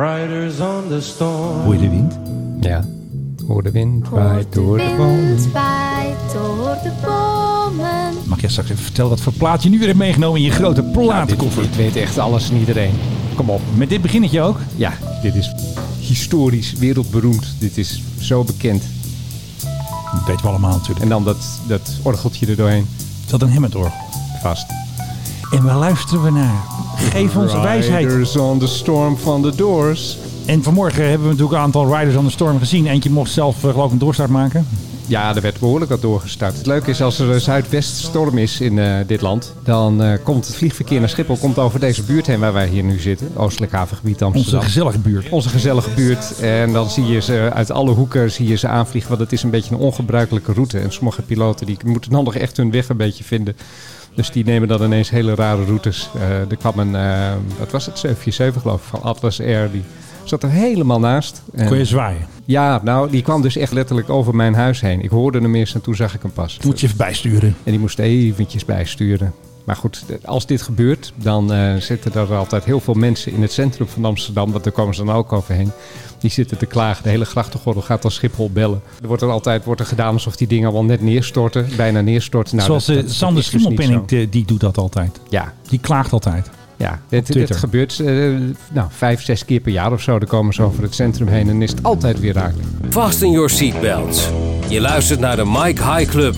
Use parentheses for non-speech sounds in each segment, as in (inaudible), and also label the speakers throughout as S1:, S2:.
S1: Riders on the storm.
S2: Hoor je de wind?
S3: Ja. Hoor de wind
S4: Hoort
S3: waait
S4: de
S3: door de bomen.
S4: wind waait door de bomen.
S2: Mag jij straks even vertellen wat voor plaat je nu weer hebt meegenomen in je grote platenkoffer?
S3: Dit weet echt alles en iedereen. Kom op.
S2: Met dit beginnetje ook?
S3: Ja, dit is historisch wereldberoemd. Dit is zo bekend.
S2: Dat weten we allemaal natuurlijk.
S3: En dan dat, dat orgeltje er doorheen.
S2: Is dat een Hammond-orgel?
S3: Vast.
S2: En waar luisteren we naar? Geef ons wijsheid.
S3: Riders on the storm van de Doors.
S2: En vanmorgen hebben we natuurlijk een aantal Riders on the Storm gezien. Eentje mocht zelf eh, geloof ik een doorstart maken.
S3: Ja, er werd behoorlijk wat doorgestart. Het leuke is, als er een zuidweststorm is in eh, dit land... dan eh, komt het vliegverkeer naar Schiphol komt over deze buurt heen waar wij hier nu zitten. Oostelijk havengebied Amsterdam.
S2: Onze gezellige buurt.
S3: Onze gezellige buurt. En dan zie je ze uit alle hoeken zie je ze aanvliegen. Want het is een beetje een ongebruikelijke route. En sommige piloten die moeten dan nog echt hun weg een beetje vinden. Dus die nemen dan ineens hele rare routes. Eh, er kwam een, eh, wat was het, 747 geloof ik, van Atlas Air. Die zat er helemaal naast. En-
S2: Kun je zwaaien.
S3: ja, nou, die kwam dus echt letterlijk over mijn huis heen. Ik hoorde hem eerst en toen zag ik hem pas.
S2: Moet je even bijsturen.
S3: En die moest eventjes bijsturen. Maar goed, als dit gebeurt, dan eh, zitten er altijd heel veel mensen in het centrum van Amsterdam. Want daar komen ze dan ook overheen. Die zitten te klagen. De hele grachtengordel gaat dan Schiphol bellen. Er wordt er altijd wordt er gedaan alsof die dingen allemaal net neerstorten. Bijna neerstorten. Nou,
S2: Zoals
S3: dat-
S2: eh,
S3: dat- dat
S2: Sander
S3: is dus niet
S2: Schimmelpenning, eh, die doet dat altijd.
S3: zo. Ja,
S2: Die klaagt altijd.
S3: ja. Dit, dit
S2: Twitter.
S3: gebeurt eh, nou, vijf, zes keer per jaar of zo. Dan komen ze over het centrum heen en is het altijd weer raak.
S5: Fasten your seatbelts. Je luistert naar de Mike High Club.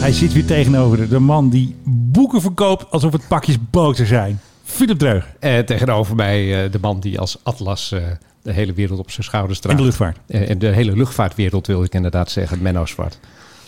S2: Hij zit weer tegenover de man die boeken verkoopt alsof het pakjes boter zijn. Philip Dreugen.
S3: Eh, tegenover mij eh, de man die als Atlas eh, de hele wereld op zijn schouders
S2: En
S3: draagt.
S2: de luchtvaart.
S3: Eh, en de hele luchtvaartwereld wil ik inderdaad zeggen, Menno Zwart.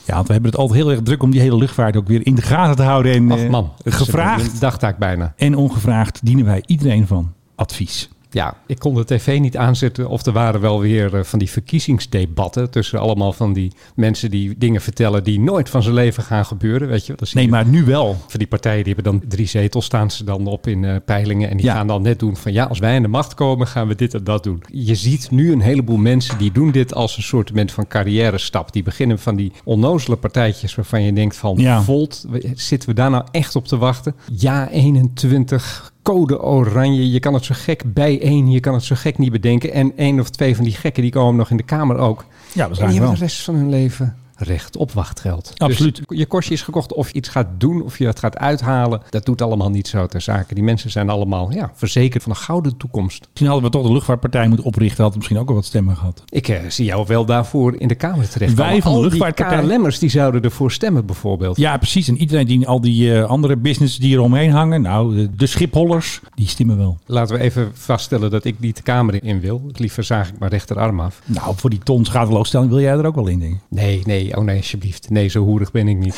S2: Ja, want we hebben het altijd heel erg druk om die hele luchtvaart ook weer in de gaten te houden. En,
S3: Ach
S2: eh,
S3: man, het is
S2: gevraagd
S3: Een dagtaak bijna.
S2: en ongevraagd dienen wij iedereen van advies.
S3: Ja, ik kon de tv niet aanzetten of er waren wel weer eh, van die verkiezingsdebatten tussen allemaal van die mensen die dingen vertellen die nooit van zijn leven gaan gebeuren, weet je. wel. Dan zie
S2: Nee,
S3: je
S2: maar nu wel.
S3: Van die partijen die hebben dan drie zetels staan ze dan op in eh, peilingen en die
S2: Ja.
S3: gaan dan net doen van ja, als wij aan de macht komen gaan we dit en dat doen. Je ziet nu een heleboel mensen die doen dit als een soort van carrière stap. Die beginnen van die onnozele partijtjes waarvan je denkt van
S2: Ja.
S3: Volt, we- zitten we daar nou echt op te wachten? Ja 21, code oranje, je kan het zo gek bijeen, je kan het zo gek niet bedenken. En één of twee van die gekken die komen nog in de Kamer ook.
S2: Ja, dat
S3: En
S2: zijn
S3: je
S2: wel.
S3: hebt de rest van hun leven recht op wachtgeld.
S2: Absoluut.
S3: Dus je kostje is gekocht of je iets gaat doen of je het gaat uithalen. Dat doet allemaal niet zo ter zake. Die mensen zijn allemaal ja, verzekerd van een gouden toekomst.
S2: Misschien hadden we toch de luchtvaartpartij moeten oprichten. Had het misschien ook al wat stemmen gehad.
S3: Ik eh, zie jou wel daarvoor in de Kamer terecht.
S2: Wij
S3: komen.
S2: van de
S3: Al die
S2: luchtvaartpartij-
S3: KLM'ers die zouden ervoor stemmen bijvoorbeeld.
S2: Ja, precies. En iedereen die al die eh, andere business die eromheen hangen. Nou, de, de schiphollers, die stemmen wel.
S3: Laten we even vaststellen dat ik niet de Kamer in wil. Liever zaag ik mijn rechterarm af.
S2: Nou, voor die ton schadeloosstelling wil jij er ook wel in, denk ik.
S3: Nee, nee, oh nee, alsjeblieft. Nee, zo hoerig ben ik
S2: (laughs)
S3: niet.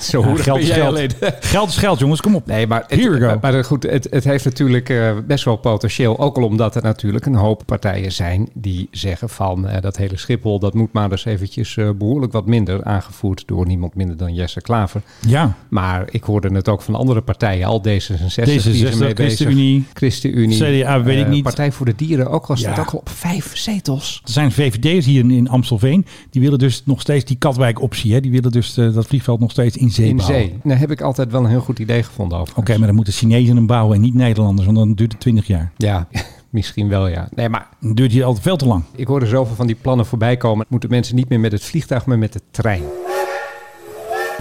S3: zo
S2: Ja,
S3: hoerig
S2: geld
S3: ben
S2: is
S3: jij
S2: geld.
S3: alleen.
S2: Geld is geld, jongens. Kom op.
S3: Nee, maar, het,
S2: Here we go.
S3: maar- maar goed, het, het heeft natuurlijk eh, best wel potentieel. Ook al omdat er natuurlijk een hoop partijen zijn die zeggen van eh, dat hele Schiphol, dat moet maar eens eventjes eh, behoorlijk wat minder. Aangevoerd door niemand minder dan Jesse Klaver.
S2: Ja,
S3: Maar ik hoorde het ook van andere partijen, al D66. die is ermee
S2: D66,
S3: bezig.
S2: ChristenUnie.
S3: ChristenUnie.
S2: CDA, weet ik
S3: eh,
S2: niet.
S3: Partij voor de Dieren, ook al staat
S2: Ja.
S3: ook al op vijf zetels.
S2: Er zijn VVD'ers hier in, in Amstelveen. Die willen dus nog steeds die Katwijk-optie. Hè? Die willen dus eh, dat vliegveld nog steeds in zee
S3: In
S2: bouwen.
S3: zee. Daar heb ik altijd wel een heel goed idee gevonden over.
S2: Oké, maar dan moeten Chinezen hem bouwen en niet Nederlanders. Want dan duurt het 20 jaar.
S3: Ja, (laughs) misschien wel ja. Nee, maar
S2: Dan duurt hij altijd veel te lang.
S3: Ik hoorde zoveel van die plannen voorbij komen. Moeten mensen niet meer met het vliegtuig, maar met de trein.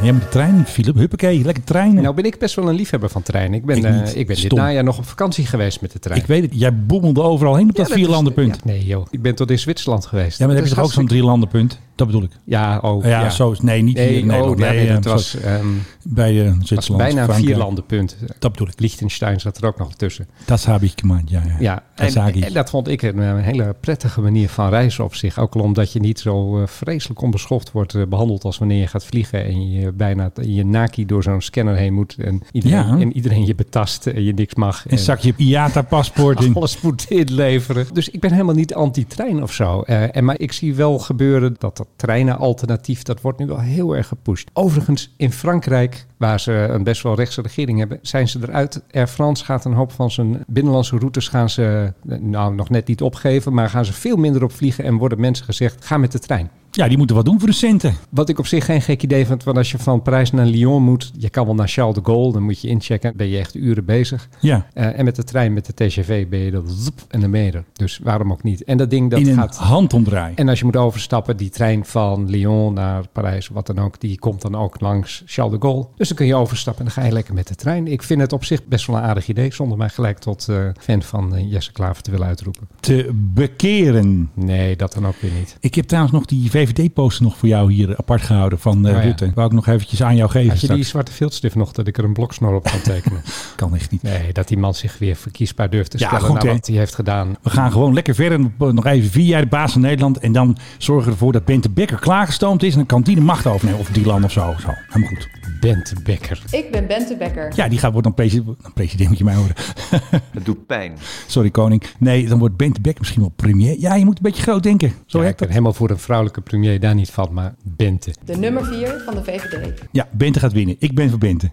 S2: Ja, maar de trein, Philip. Huppakee, lekker treinen.
S3: Nou ben ik best wel een liefhebber van treinen. Ik ben,
S2: Ik
S3: eh,
S2: niet.
S3: ik ben dit
S2: Stom.
S3: najaar nog op vakantie geweest met de trein.
S2: ik weet het. Jij boemelde overal heen op dat
S3: Ja,
S2: vierlandenpunt.
S3: is- ja, nee joh, ik ben tot in Zwitserland geweest.
S2: Ja, maar dan heb
S3: Dat
S2: je toch ook
S3: is
S2: zo'n drielandenpunt? Dat bedoel ik.
S3: hartstikke- Ja, oh,
S2: Ja, zo is Nee, niet hier
S3: Nee,
S2: in Nederland.
S3: oh, ja,
S2: nee,
S3: nee,
S2: eh,
S3: dat was,
S2: sorry,
S3: ehm,
S2: bij eh
S3: was
S2: Zwitserland.
S3: bijna een
S2: Frankrijk.
S3: vierlandenpunt.
S2: Dat bedoel ik.
S3: Liechtenstein zat er ook nog tussen.
S2: Dat heb ik gemaakt, ja. ja.
S3: Ja,
S2: dat
S3: en,
S2: zag ik.
S3: en dat vond ik een, eh, hele prettige manier van reizen op zich. Ook al omdat je niet zo eh, vreselijk onbeschoft wordt eh, behandeld als wanneer je gaat vliegen en je bijna t- je naki door zo'n scanner heen moet en iedereen,
S2: Ja.
S3: en iedereen je betast en je niks mag.
S2: Een zakje IATA-paspoort
S3: (laughs)
S2: in.
S3: alles moet inleveren. Dus ik ben helemaal niet anti-trein of zo. Eh, en, maar ik zie wel gebeuren dat dat treinenalternatief, dat wordt nu wel heel erg gepusht. Overigens, in Frankrijk, waar ze een best wel rechtse regering hebben, zijn ze eruit. Air France gaat een hoop van zijn binnenlandse routes gaan ze, eh, nou nog net niet opgeven, maar gaan ze veel minder op vliegen en worden mensen gezegd, ga met de trein.
S2: Ja, die moeten wat doen voor de centen.
S3: Wat ik op zich geen gek idee vind, want als je van Parijs naar Lyon moet, je kan wel naar Charles de Gaulle, dan moet je inchecken, ben je echt uren bezig.
S2: Ja.
S3: Eh, en met de trein, met de TGV ben je dan zoep en dan ben je er. Dus waarom ook niet? En dat ding dat
S2: in een
S3: gaat...
S2: handomdraai.
S3: En als je moet overstappen, die trein van Lyon naar Parijs, wat dan ook, die komt dan ook langs Charles de Gaulle. Dus dan kun je overstappen en dan ga je lekker met de trein. Ik vind het op zich best wel een aardig idee, zonder mij gelijk tot eh, fan van eh, Jesse Klaver te willen uitroepen.
S2: Te bekeren.
S3: Nee, dat dan ook weer niet.
S2: Ik heb trouwens nog die VVD-poster nog voor jou hier apart gehouden van eh
S3: Oh ja.
S2: Rutte. Wou ik nog eventjes aan jou geven
S3: Had je die
S2: straks.
S3: zwarte viltstift nog, dat ik er een bloksnor op kan tekenen?
S2: Kan echt niet.
S3: (laughs) Nee, dat die man zich weer verkiesbaar durft te
S2: Ja,
S3: stellen
S2: goed,
S3: naar
S2: hè?
S3: wat hij heeft gedaan.
S2: We gaan gewoon lekker verder. eh, Nog even vier jaar de baas van Nederland. En dan zorgen we ervoor dat Bente Bekker klaargestoomd is. En dan kan die de macht overnemen. Of Dylan of zo. zo. Helemaal goed.
S3: Bent Bekker.
S6: Ik ben Bente Bekker.
S2: Ja, die gaat, wordt dan president. Dan president moet je mij horen. (laughs)
S7: Het doet pijn.
S2: Sorry koning. Nee, dan wordt Bente Bekker misschien wel premier. Ja, je moet een beetje groot denken. Zo
S3: Ja, ik
S2: heet
S3: ben
S2: dat.
S3: helemaal voor een vrouwelijke premier daar niet van, maar Bente.
S6: De nummer 4 van de VVD.
S2: Ja, Bente gaat winnen. Ik ben voor Bente.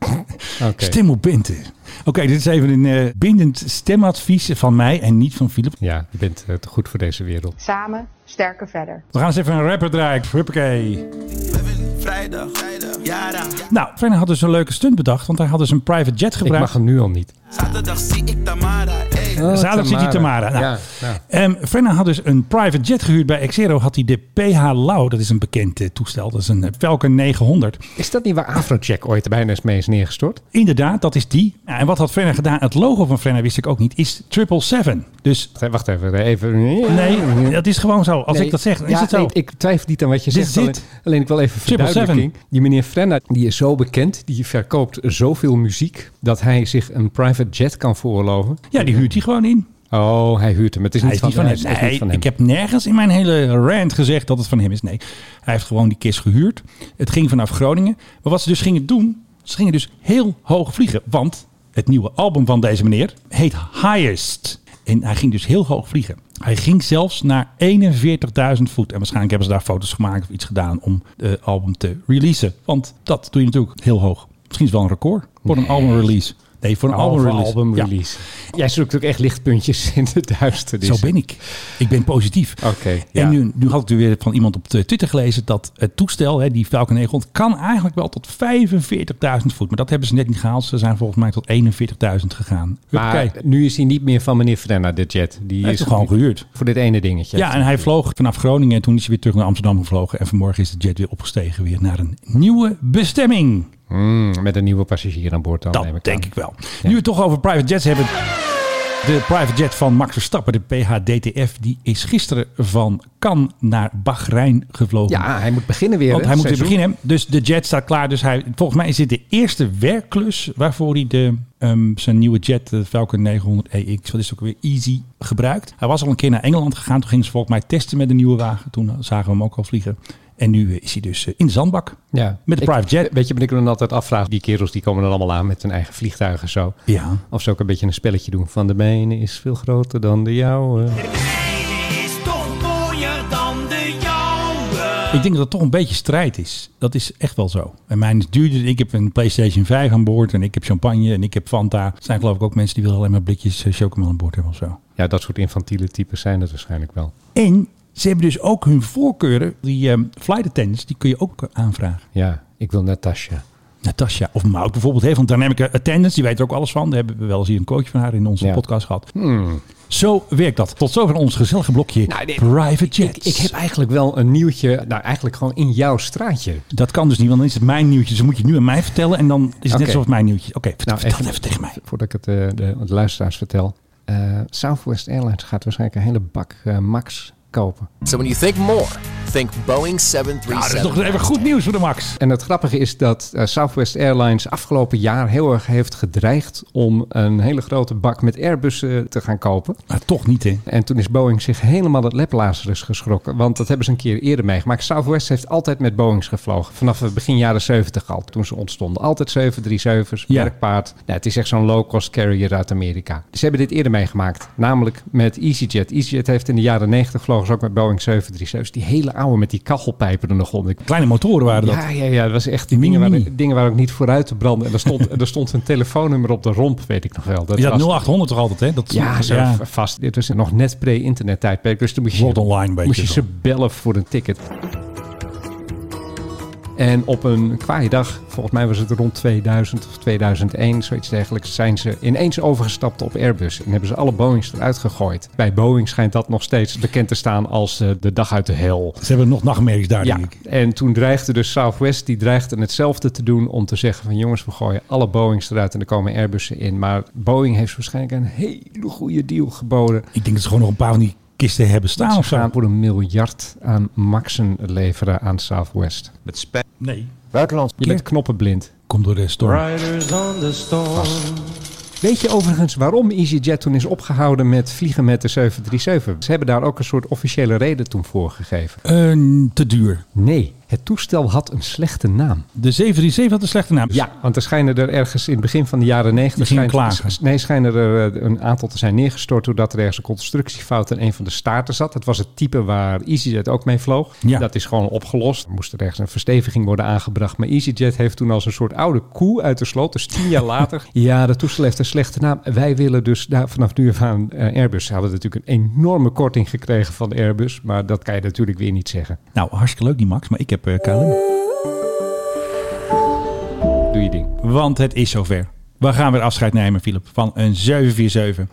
S3: Oké.
S2: Stem op Bente. Oké, dit is even een eh, bindend stemadvies van mij en niet van Philip.
S3: Ja, je bent eh, te goed voor deze wereld.
S6: Samen sterker verder.
S2: We gaan eens even een rapper draaien. Huppakee.
S8: Vrijdag, jara.
S2: Nou, Frenna had dus een leuke stunt bedacht, want hij had dus een private jet
S3: Ik
S2: gebruikt.
S3: mag hem nu al niet.
S8: Zaterdag zie ik Tamara. Hey.
S2: Zaterdag Eh, zit hij Tamara. Nou,
S3: Oh, Ja, ja.
S2: Ehm, Frenna had dus een private jet gehuurd bij Exero. Had hij de PH Lau, dat is een bekend eh, toestel. Dat is een eh, Falcon 900.
S3: Is dat niet waar Afrojack ooit bijna eens mee is neergestort?
S2: Inderdaad, dat is die. Nou, en wat had Frenna gedaan? Het logo van Frenna wist ik ook niet. Is 777. Dus
S3: Wacht, Wacht even, eh, even.
S2: nee, dat is gewoon zo. Als
S3: Oh. Nee,
S2: ik dat zeg, is
S3: ja,
S2: het zo.
S3: nee, ik twijfel niet aan wat je
S2: Dit
S3: zegt.
S2: is
S3: Alleen,
S2: dit.
S3: alleen ik wil even
S2: Triple
S3: verduidelijking. Die meneer Frenna, die is zo bekend, die verkoopt zoveel muziek, dat hij zich een private jet kan veroorloven.
S2: Ja, die huurt hij gewoon in.
S3: Oh, hij huurt hem. Het is niet,
S2: Hij is
S3: van,
S2: niet van hem.
S3: hij is echt niet
S2: Nee,
S3: van hem.
S2: Ik heb nergens in mijn hele rant gezegd dat het van hem is. Nee, hij heeft gewoon die kist gehuurd. Het ging vanaf Groningen. Maar wat ze dus gingen doen, ze gingen dus heel hoog vliegen. Want het nieuwe album van deze meneer heet Highest. En hij ging dus heel hoog vliegen. Hij ging zelfs naar 41.000 voet. En waarschijnlijk hebben ze daar foto's gemaakt of iets gedaan om het album te releasen. Want dat doe je natuurlijk heel hoog. Misschien is het wel een record voor een albumrelease. Nee, voor een
S3: Oh, voor
S2: albumrelease.
S3: album
S2: Ja.
S3: release. Jij zoekt ook echt lichtpuntjes (laughs) in de duisternis.
S2: Zo ben ik. Ik ben positief.
S3: Oké,
S2: en
S3: ja.
S2: nu, nu had ik weer van iemand op de Twitter gelezen dat het toestel, hè, die Falcon 900, kan eigenlijk wel tot 45.000 voet. Maar dat hebben ze net niet gehaald. Ze zijn volgens mij tot 41.000 gegaan.
S3: Maar
S2: Huppakee.
S3: nu is hij niet meer van meneer Frenna, de jet. Die
S2: Hij
S3: is
S2: is gewoon gehuurd.
S3: voor dit ene dingetje.
S2: Ja, en hij vloog vanaf Groningen en toen is hij weer terug naar Amsterdam gevlogen. En vanmorgen is de jet weer opgestegen weer naar een nieuwe bestemming.
S3: Hmm, met een nieuwe passagier aan boord dan.
S2: Dat
S3: neem ik
S2: denk
S3: aan.
S2: ik wel. Nu we het toch over private jets hebben. De private jet van Max Verstappen, de PHDTF, die is gisteren van Cannes naar Bahrein gevlogen.
S3: Ja, hij moet beginnen weer.
S2: Want
S3: hè,
S2: hij moet weer
S3: seizoen.
S2: beginnen. Dus de jet staat klaar. Dus hij, volgens mij is dit de eerste werkklus waarvoor hij de, ehm, zijn nieuwe jet, de Falcon 900 EX, wat is het ook weer easy, gebruikt. Hij was al een keer naar Engeland gegaan. Toen gingen ze volgens mij testen met de nieuwe wagen. Toen zagen we hem ook al vliegen. En nu eh, is hij dus eh, in de zandbak.
S3: Ja.
S2: Met de
S3: Ik-
S2: private jet.
S3: Weet je wat ik me dan altijd afvraag? Die kerels die komen dan allemaal aan met hun eigen vliegtuigen zo.
S2: Ja.
S3: Of ze ook een beetje een spelletje doen van de mijne is veel groter dan de jouwe.
S8: is toch mooier dan de jouwe.
S2: Ik denk dat het toch een beetje strijd is. Dat is echt wel zo. En mijn is duurder. Ik heb een PlayStation 5 aan boord. En ik heb champagne. En ik heb Fanta. Er zijn geloof ik ook mensen die willen alleen maar blikjes eh, chocomel aan boord hebben of zo.
S3: Ja, dat soort infantiele types zijn dat waarschijnlijk wel.
S2: En ze hebben dus ook hun voorkeuren. Die ehm, flight attendants, die kun je ook aanvragen.
S3: Ja, ik wil Natasja.
S2: Natasja of Mout bijvoorbeeld heeft een dynamic attendants. Die weet er ook alles van. Daar hebben we wel eens hier een coach van haar in onze
S3: Ja. Hmm.
S2: podcast gehad. Zo werkt dat. Tot zover ons gezellige blokje private jets.
S3: Nou, Ik, ik heb eigenlijk wel een nieuwtje, nou eigenlijk gewoon in jouw straatje.
S2: Dat kan dus niet, want dan is het mijn nieuwtje. Dus dan moet je het nu aan mij vertellen en dan is het net
S3: Oké.
S2: zoals mijn nieuwtje. Oké, vertel,
S3: Nou,
S2: vertel
S3: even-
S2: het even tegen mij. Ah,
S3: Voordat ik het eh, de, de luisteraars vertel. Eh, Southwest Airlines gaat waarschijnlijk een hele bak eh, Max kopen.
S9: So when you think more, think Boeing
S2: Nou, dat is
S9: 737.
S2: nog even goed nieuws voor de Max.
S3: En het grappige is dat eh, Southwest Airlines afgelopen jaar heel erg heeft gedreigd om een hele grote bak met Airbussen te gaan kopen.
S2: Maar toch niet, hè?
S3: En toen is Boeing zich helemaal het leplazerus geschrokken. Want dat hebben ze een keer eerder meegemaakt. Southwest heeft altijd met Boeings gevlogen. Vanaf het begin jaren 70 al, toen ze ontstonden. Altijd 737's,
S2: Ja.
S3: werkpaard. Nou, het is echt zo'n low-cost carrier uit Amerika. Ze hebben dit eerder meegemaakt. Namelijk met EasyJet. EasyJet heeft in de jaren 90 vlogen ze ook met Boeing 737's. Die hele oude met die kachelpijpen er nog onder.
S2: Kleine motoren waren dat.
S3: Ja, ja, ja, dat was echt die
S2: Mini,
S3: dingen
S2: mini.
S3: waar, dingen waar ook niet vooruit te branden. En er stond, (laughs) er stond een telefoonnummer op de romp, weet ik nog wel.
S2: is dat
S3: was-
S2: 0800 toch altijd, hè? Dat,
S3: ja, zo v- vast. Dit was nog net pre-internet tijdperk. Dus toen moest je,
S2: World Online, weet
S3: moest
S2: je
S3: je ze bellen voor een ticket. En op een kwaaie dag, volgens mij was het rond 2000 of 2001, zoiets dergelijks, zijn ze ineens overgestapt op Airbus. En hebben ze alle Boeings eruit gegooid. Bij Boeing schijnt dat nog steeds bekend te staan als eh, de dag uit de hel.
S2: Ze hebben nog nachtmerries daar,
S3: Ja,
S2: denk ik.
S3: en toen dreigde dus Southwest, die dreigde hetzelfde te doen om te zeggen van jongens, we gooien alle Boeings eruit en er komen Airbussen in. Maar Boeing heeft waarschijnlijk een hele goede deal geboden.
S2: Ik denk dat ze gewoon nog een paar van die kisten hebben staan
S3: Ze
S2: of zo.
S3: gaan voor een miljard aan Maxen leveren aan Southwest.
S2: Nee.
S9: Buitenlands.
S3: Je bent knoppenblind.
S2: Komt door de storm.
S1: Riders on the storm.
S3: Weet je overigens waarom EasyJet toen is opgehouden met vliegen met de 737? Ze hebben daar ook een soort officiële reden toen voor gegeven.
S2: Eh, te duur.
S3: Nee, het toestel had een slechte naam.
S2: De 737 had een slechte naam.
S3: Ja, Dus want er schijnen er ergens in het begin van de jaren
S2: Die
S3: negentig...
S2: gingen
S3: schijnt-
S2: klagen.
S3: s- Nee, schijnen er eh, een aantal te zijn neergestort... doordat er ergens een constructiefout in een van de staarten zat. Dat was het type waar EasyJet ook mee vloog.
S2: Ja.
S3: Dat is gewoon opgelost. Er moest er ergens een versteviging worden aangebracht. Maar EasyJet heeft toen als een soort oude koe uit de sloot... dus tien jaar later... (laughs) ja, dat toestel heeft een slechte naam. Wij willen dus daar vanaf nu af aan eh, Airbus. Ze hadden natuurlijk een enorme korting gekregen van Airbus... maar dat kan je natuurlijk weer niet zeggen.
S2: Nou, hartstikke leuk die Max, maar ik heb eh KLM.
S3: Doe je ding.
S2: Want het is zover. We gaan weer afscheid nemen, Philip, van een 747.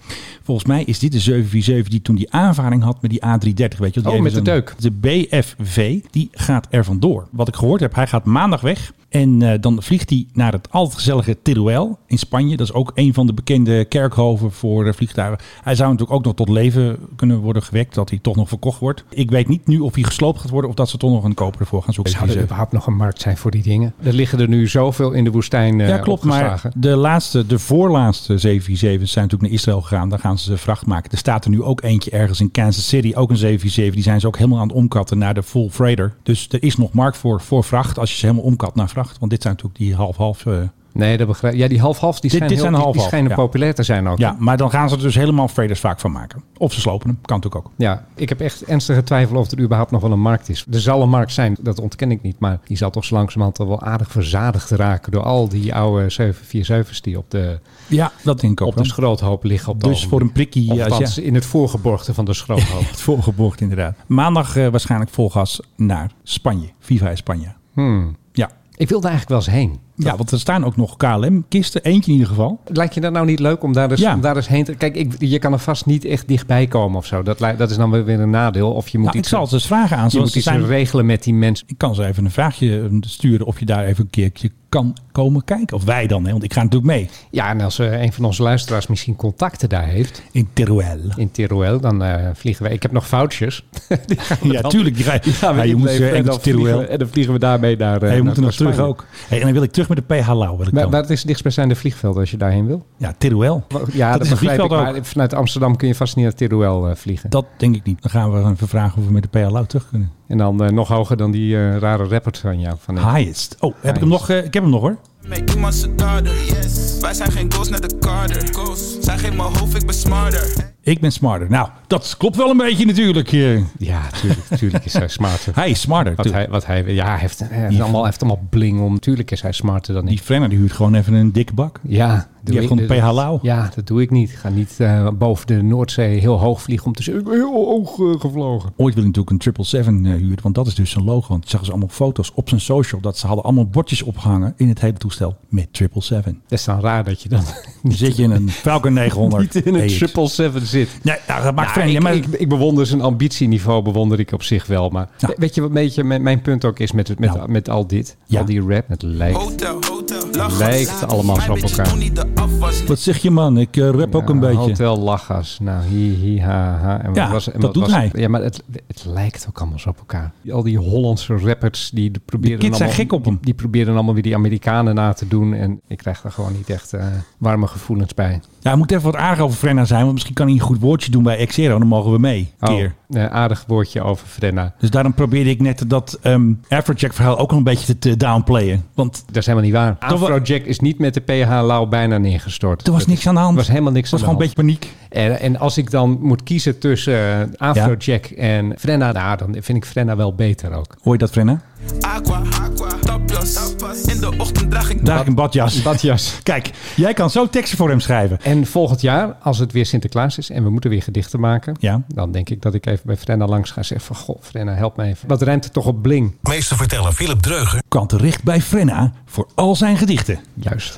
S2: Volgens mij is dit de 747 die toen die aanvaring had met die A330. Weet je, wel. die
S3: Oh, met
S2: even
S3: de
S2: zo'n-
S3: deuk.
S2: De BFV, die gaat er vandoor. Wat ik gehoord heb, hij gaat maandag weg. En eh, dan vliegt hij naar het altijd gezellige Teruel in Spanje. Dat is ook een van de bekende kerkhoven voor eh, vliegtuigen. Hij zou natuurlijk ook nog tot leven kunnen worden gewekt, dat hij toch nog verkocht wordt. Ik weet niet nu of hij gesloopt gaat worden of dat ze toch nog een koper ervoor gaan zoeken.
S3: Zou er
S2: 747.
S3: überhaupt nog een markt zijn voor die dingen? Er liggen er nu zoveel in de woestijn eh
S2: Ja, klopt. Maar
S3: opgeslagen.
S2: de laatste, de voorlaatste 747's zijn natuurlijk naar Israël gegaan. Daar gaan ze de vracht maken. Er staat er nu ook eentje ergens in Kansas City. Ook een 747. Die zijn ze ook helemaal aan het omkatten naar de full freighter. Dus er is nog markt voor, voor vracht. Als je ze helemaal omkat naar vracht. Want dit zijn natuurlijk die half-half. eh,
S3: Nee, dat begrijp Ja, die half-half, die
S2: Dit-
S3: schijnen,
S2: dit zijn
S3: heel, die-
S2: half-half,
S3: die schijnen
S2: ja.
S3: populair te zijn ook.
S2: ja, maar dan gaan ze er dus helemaal freighters vaak van maken. Of ze slopen hem. Kan natuurlijk ook.
S3: Ja, ik heb echt ernstige twijfel of er überhaupt nog wel een markt is. Er zal een markt zijn, dat ontken ik niet. Maar die zal toch zo langzamerhand al wel aardig verzadigd raken... door al die oude 747's die op de,
S2: Ja, dat denk ik ook
S3: op de
S2: wel.
S3: schroothoop liggen. Op het
S2: Dus voor een
S3: ogenblik.
S2: prikkie.
S3: Of
S2: als je-
S3: althans, in het voorgeborgte van de schroothoop.
S2: het voorgeborgd inderdaad. Maandag eh, waarschijnlijk vol gas naar Spanje. Viva España.
S3: Hmm.
S2: Ja.
S3: (laughs) Ik wilde eigenlijk wel eens heen.
S2: Ja, want er staan ook nog KLM-kisten. Eentje in ieder geval.
S3: Lijkt je dat nou niet leuk om daar eens,
S2: Ja.
S3: om daar eens heen te... Kijk, ik, je kan er vast niet echt dichtbij komen of zo. Dat, lij- dat is dan weer een nadeel. Of je moet
S2: Nou, ik
S3: iets,
S2: zal het eens vragen aan ze.
S3: je
S2: want
S3: moet
S2: ze
S3: iets
S2: zijn-
S3: regelen met die mensen.
S2: Ik kan ze even een vraagje eh, sturen of je daar even een keertje kan komen kijken. Of wij dan, hè? want ik ga natuurlijk mee.
S3: Ja, en als eh, een van onze luisteraars misschien contacten daar heeft
S2: In Teruel.
S3: in Teruel, dan eh, vliegen we... Ik heb nog vouchers. Die gaan we
S2: (laughs) Ja,
S3: dan-
S2: tuurlijk. Die ga je,
S3: die gaan we
S2: ja, je moet
S3: inleveren
S2: eh,
S3: en,
S2: Engels
S3: dan vliegen we,
S2: Teruel.
S3: en dan vliegen we daarmee naar eh,
S2: Hey, we
S3: naar-
S2: moeten nog
S3: naar
S2: terug
S3: Spanje.
S2: ook. Hey, en dan wil ik terug met de PH Lau. Wil ik
S3: Maar,
S2: dan.
S3: maar het is het dichtstbijzijnde vliegveld als je daarheen wil.
S2: ja, Teruel.
S3: Ja, dat,
S2: is een
S3: begrijp ik.
S2: vliegveld ook.
S3: Maar vanuit Amsterdam kun je vast niet naar Teruel eh, vliegen.
S2: Dat denk ik niet. Dan gaan we even vragen of we met de PH Lau terug kunnen.
S3: En dan eh, nog hoger dan die eh, rare rapper van jou. Van,
S2: Highest. Oh, heb ik hem nog?
S3: Highest.
S2: eh, ik heb hem nog hoor.
S8: Met iemand zijn dader. Yes. Wij zijn geen ghosts, net de Carter. Ghosts. Zij geeft mijn hoofd, ik ben smarter.
S2: Ik ben smarter. Nou, dat klopt wel een beetje natuurlijk. eh.
S3: Ja, tuurlijk, tuurlijk is hij smarter.
S2: Hij is smarter.
S3: Wat
S2: tuurlijk.
S3: hij, wat hij, ja, hij heeft, hij heeft, allemaal, hij heeft allemaal bling om. Tuurlijk is hij smarter dan ik.
S2: Die Frenner die huurt gewoon even een dikke bak.
S3: Ja, doe
S2: Die heeft
S3: ik-
S2: gewoon een PH Lau.
S3: Ja, dat doe ik niet. Ik ga niet eh, boven de Noordzee heel hoog vliegen om te zeggen, ik ben heel hoog eh, gevlogen.
S2: Ooit wil hij natuurlijk een 777 eh, huren, want dat is dus zijn logo. Want zagen ze allemaal foto's op zijn social dat ze hadden allemaal bordjes opgehangen in het hele toestel met (laughs) 777.
S3: Dat is dan raar dat je dan (laughs)
S2: Dan zit je in een Falcon 900.
S3: niet in een
S2: AX.
S3: 777 zit.
S2: Nee, nou, dat maakt
S3: Ja,
S2: Frenner.
S3: ik,
S2: maar
S3: ik, ik bewonder zijn ambitieniveau, bewonder ik op zich wel. Maar
S2: Nou.
S3: weet je wat een beetje mijn, mijn punt ook is met, het- met,
S2: Nou.
S3: met al dit?
S2: Ja.
S3: Al die rap, het lijkt.
S8: Hotel, hotel. Lachgas.
S3: Lijkt allemaal zo op
S8: Mijn bitches
S3: elkaar.
S8: doen niet de afwas.
S2: wat zeg je man? Ik eh, rap ook
S3: Ja,
S2: een beetje.
S3: Hotel Lachgas. Nou, hi, hi, ha, ha. En wat
S2: Ja,
S3: en
S2: dat
S3: wat
S2: doet hij.
S3: Ja, maar het, het lijkt ook allemaal zo op elkaar. Al die Hollandse rappers, die de- proberen
S2: kids zijn
S3: allemaal...
S2: gek op hem.
S3: Die, die proberen allemaal weer die Amerikanen na te doen. En ik krijg daar gewoon niet echt eh, warme gevoelens bij.
S2: Ja, hij moet even wat aardig over Frenna zijn, want misschien kan hij een goed woordje doen bij Xero. Dan mogen we mee.
S3: Oh,
S2: Keer.
S3: een aardig woordje over Frenna.
S2: Dus daarom probeerde ik net dat ehm Afrojack verhaal ook nog een beetje te, te downplayen. Want
S3: Dat is helemaal niet waar.
S2: Dat wa-
S3: Afrojack is niet met de PH Lau bijna neergestort.
S2: er was niks aan de hand.
S3: was helemaal niks
S2: Het was
S3: aan
S2: gewoon
S3: de
S2: een beetje paniek.
S3: En, en als ik dan moet kiezen tussen eh,
S2: (laughs)
S3: Afrojack en Frenna... Nou, dan vind ik Frenna wel beter ook.
S2: Hoor je dat, Frenna?
S8: Aqua, aqua. tapjas. In de ochtend draag ik
S2: Draag ik een badjas.
S3: Badjas.
S2: Kijk, jij kan zo teksten voor hem schrijven.
S3: En volgend jaar, als het weer Sinterklaas is en we moeten weer gedichten maken,
S2: Ja.
S3: dan denk ik dat ik even bij Frenna langs ga zeggen van, goh, Frenna, help mij even. Wat ruimt er toch op bling?
S7: Meester vertellen Philip Dreugen.
S2: Kan terecht bij Frenna voor al zijn gedichten.
S3: Juist.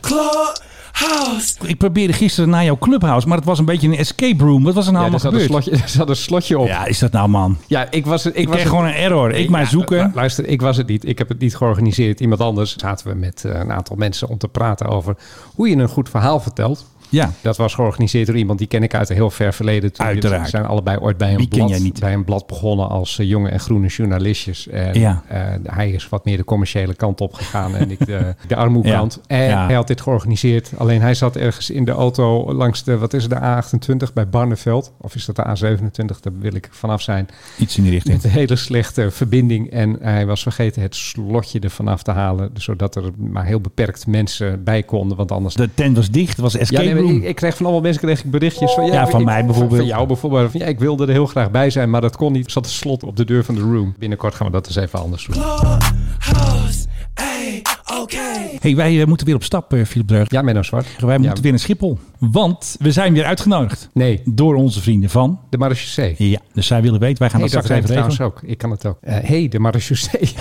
S2: Ik probeerde gisteren naar jouw clubhouse, maar het was een beetje een escape room. Wat was er nou
S3: Ja,
S2: allemaal
S3: er zat, een
S2: gebeurd?
S3: slotje, er zat een slotje op. Ja,
S2: Ja, is dat nou man?
S3: ik was het. Ik,
S2: Ik
S3: was
S2: kreeg
S3: het-
S2: gewoon een error. Ik
S3: Ja,
S2: maar
S3: lu-
S2: zoeken.
S3: Luister, ik was het niet. Ik heb het niet georganiseerd. Iemand anders zaten we met eh, een aantal mensen om te praten over hoe je een goed verhaal vertelt.
S2: Ja,
S3: Dat was georganiseerd door iemand die ken ik uit een heel ver verleden. Toen-
S2: Uiteraard.
S3: We zijn allebei ooit bij een,
S2: Wie ken
S3: blad,
S2: jij niet?
S3: bij een blad begonnen als eh, jonge en groene journalistjes. En
S2: Ja.
S3: eh, hij is wat meer de commerciële kant op gegaan en ik de, de armoekant.
S2: Ja.
S3: En
S2: Ja.
S3: hij had dit georganiseerd. Alleen hij zat ergens in de auto langs de, wat is het, de A28 bij Barneveld. Of is dat de A27? Daar wil ik vanaf zijn.
S2: iets in die richting.
S3: Met een hele slechte verbinding. En hij was vergeten het slotje ervan af te halen. Zodat er maar heel beperkt mensen bij konden. Want anders
S2: De tent was dicht, het was
S3: ja,
S2: escape
S3: nee, maar
S2: room.
S3: ik, ik kreeg van allemaal mensen kreeg ik berichtjes van, ja,
S2: Ja, van
S3: ik-
S2: mij bijvoorbeeld.
S3: Van jou bijvoorbeeld. Van, ja, ik wilde er heel graag bij zijn, maar dat kon niet. Er zat een slot op de deur van de room. Binnenkort gaan we dat eens even anders doen.
S2: hey, wij eh, moeten weer op stap, eh, Philip Dreug.
S3: Ja, Menno Zwart.
S2: Wij
S3: Ja,
S2: moeten weer naar Schiphol. Want we zijn weer uitgenodigd
S3: Nee,
S2: door onze vrienden van.
S3: de marechaussee.
S2: Ja, dus zij willen weten. Wij gaan
S3: Hey,
S2: dat
S3: dat
S2: straks
S3: rijmt
S2: even
S3: trouwens
S2: regelen.
S3: ook. Ik kan het ook. Hé, hey, de marechaussee. (laughs)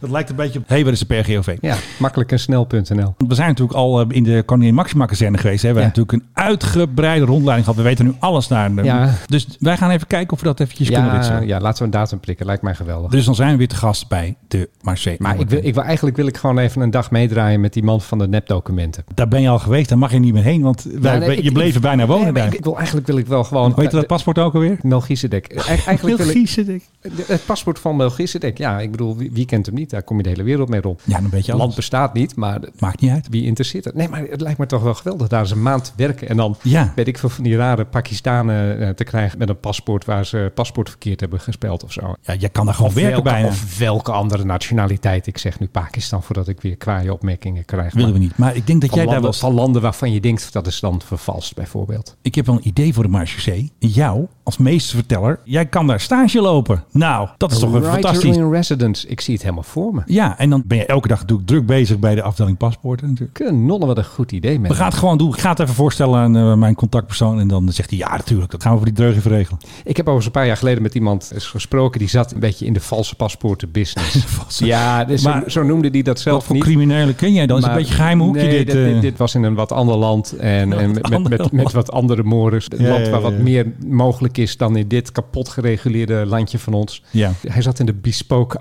S2: Dat lijkt een beetje op... Hé, hey, waar is de PRGOV?
S3: ja, makkelijk en snel.nl.
S2: Want We zijn natuurlijk al eh, in de Koningin Maxima kazerne geweest. Hè? We
S3: Ja.
S2: hebben natuurlijk een uitgebreide rondleiding gehad. We weten nu alles naar. eh,
S3: Ja.
S2: Dus wij gaan even kijken of we dat eventjes kunnen
S3: Ja,
S2: ritselen.
S3: ja, laten we een datum prikken. Lijkt mij geweldig.
S2: Dus dan zijn we weer te gast bij de Marseille.
S3: maar ik wil, ik wil, eigenlijk wil ik gewoon even een dag meedraaien met die man van de nepdocumenten.
S2: Daar ben je al geweest. Daar mag je niet meer heen. Want wij,
S3: nee,
S2: we- je
S3: ik-
S2: bleef er bijna wonen
S3: Nee, maar
S2: daar.
S3: ik, ik wil, eigenlijk wil ik wel gewoon... Eh,
S2: Weet je dat paspoort ook alweer?
S3: Melchizedek. Eigen- Eigenlijk wil ik,
S2: Melchizedek.
S3: De- Het paspoort van Melchizedek, ja, ik bedoel, wie, wie kent hem niet? Daar kom je de hele wereld mee rond.
S2: Ja, een beetje
S3: Het land
S2: alles.
S3: bestaat niet, maar de-
S2: Maakt niet uit.
S3: wie interesseert het? Nee, maar het lijkt me toch wel geweldig daar eens een maand te werken. En dan
S2: Ja.
S3: weet ik veel van die rare Pakistanen eh, te krijgen met een paspoort waar ze paspoort verkeerd hebben gespeld of zo.
S2: Ja, je kan daar gewoon
S3: Of
S2: werken
S3: welke,
S2: bijna.
S3: of welke andere nationaliteit. Ik zeg nu Pakistan voordat ik weer kwaaie opmerkingen krijg.
S2: willen we
S3: Maar
S2: niet. Maar ik denk dat
S3: Van
S2: jij daar
S3: landen,
S2: wel...
S3: van landen waarvan je denkt dat is dan vervalst, bijvoorbeeld.
S2: Ik heb wel een idee voor de Marseille. Jou, als meesterverteller, jij kan daar stage lopen. Nou, dat is toch een
S3: Writer
S2: fantastisch...
S3: in residence, ik zie het helemaal voor me.
S2: Ja, en dan ben je elke dag natuurlijk druk bezig bij de afdeling paspoorten natuurlijk.
S3: Knollen, wat een goed idee,
S2: We
S3: mensen.
S2: gaan het gewoon doen. Ik ga het even voorstellen aan eh, mijn contactpersoon. En dan zegt hij, ja natuurlijk, dat gaan we voor die dreug even regelen. (laughs)
S3: Ik heb overigens een paar jaar geleden met iemand eens gesproken. Die zat een beetje in de valse paspoorten
S2: (laughs)
S3: business.
S2: Valse-
S3: ja, dus
S2: Maar
S3: zo, zo noemde die dat
S2: Wat
S3: zelf
S2: voor
S3: niet.
S2: criminelen ken jij dan? Is het een
S3: maar-
S2: beetje een geheim hoekje
S3: nee,
S2: dit? eh?
S3: dit, dit was in een wat ander land en,
S2: Een
S3: en
S2: wat
S3: met, met,
S2: ander
S3: met, met wat andere mores. Een
S2: Ja,
S3: land
S2: ja,
S3: waar wat
S2: ja.
S3: meer mogelijk is dan in dit kapot gereguleerde landje van ons.
S2: Ja.
S3: Hij zat in de bespoke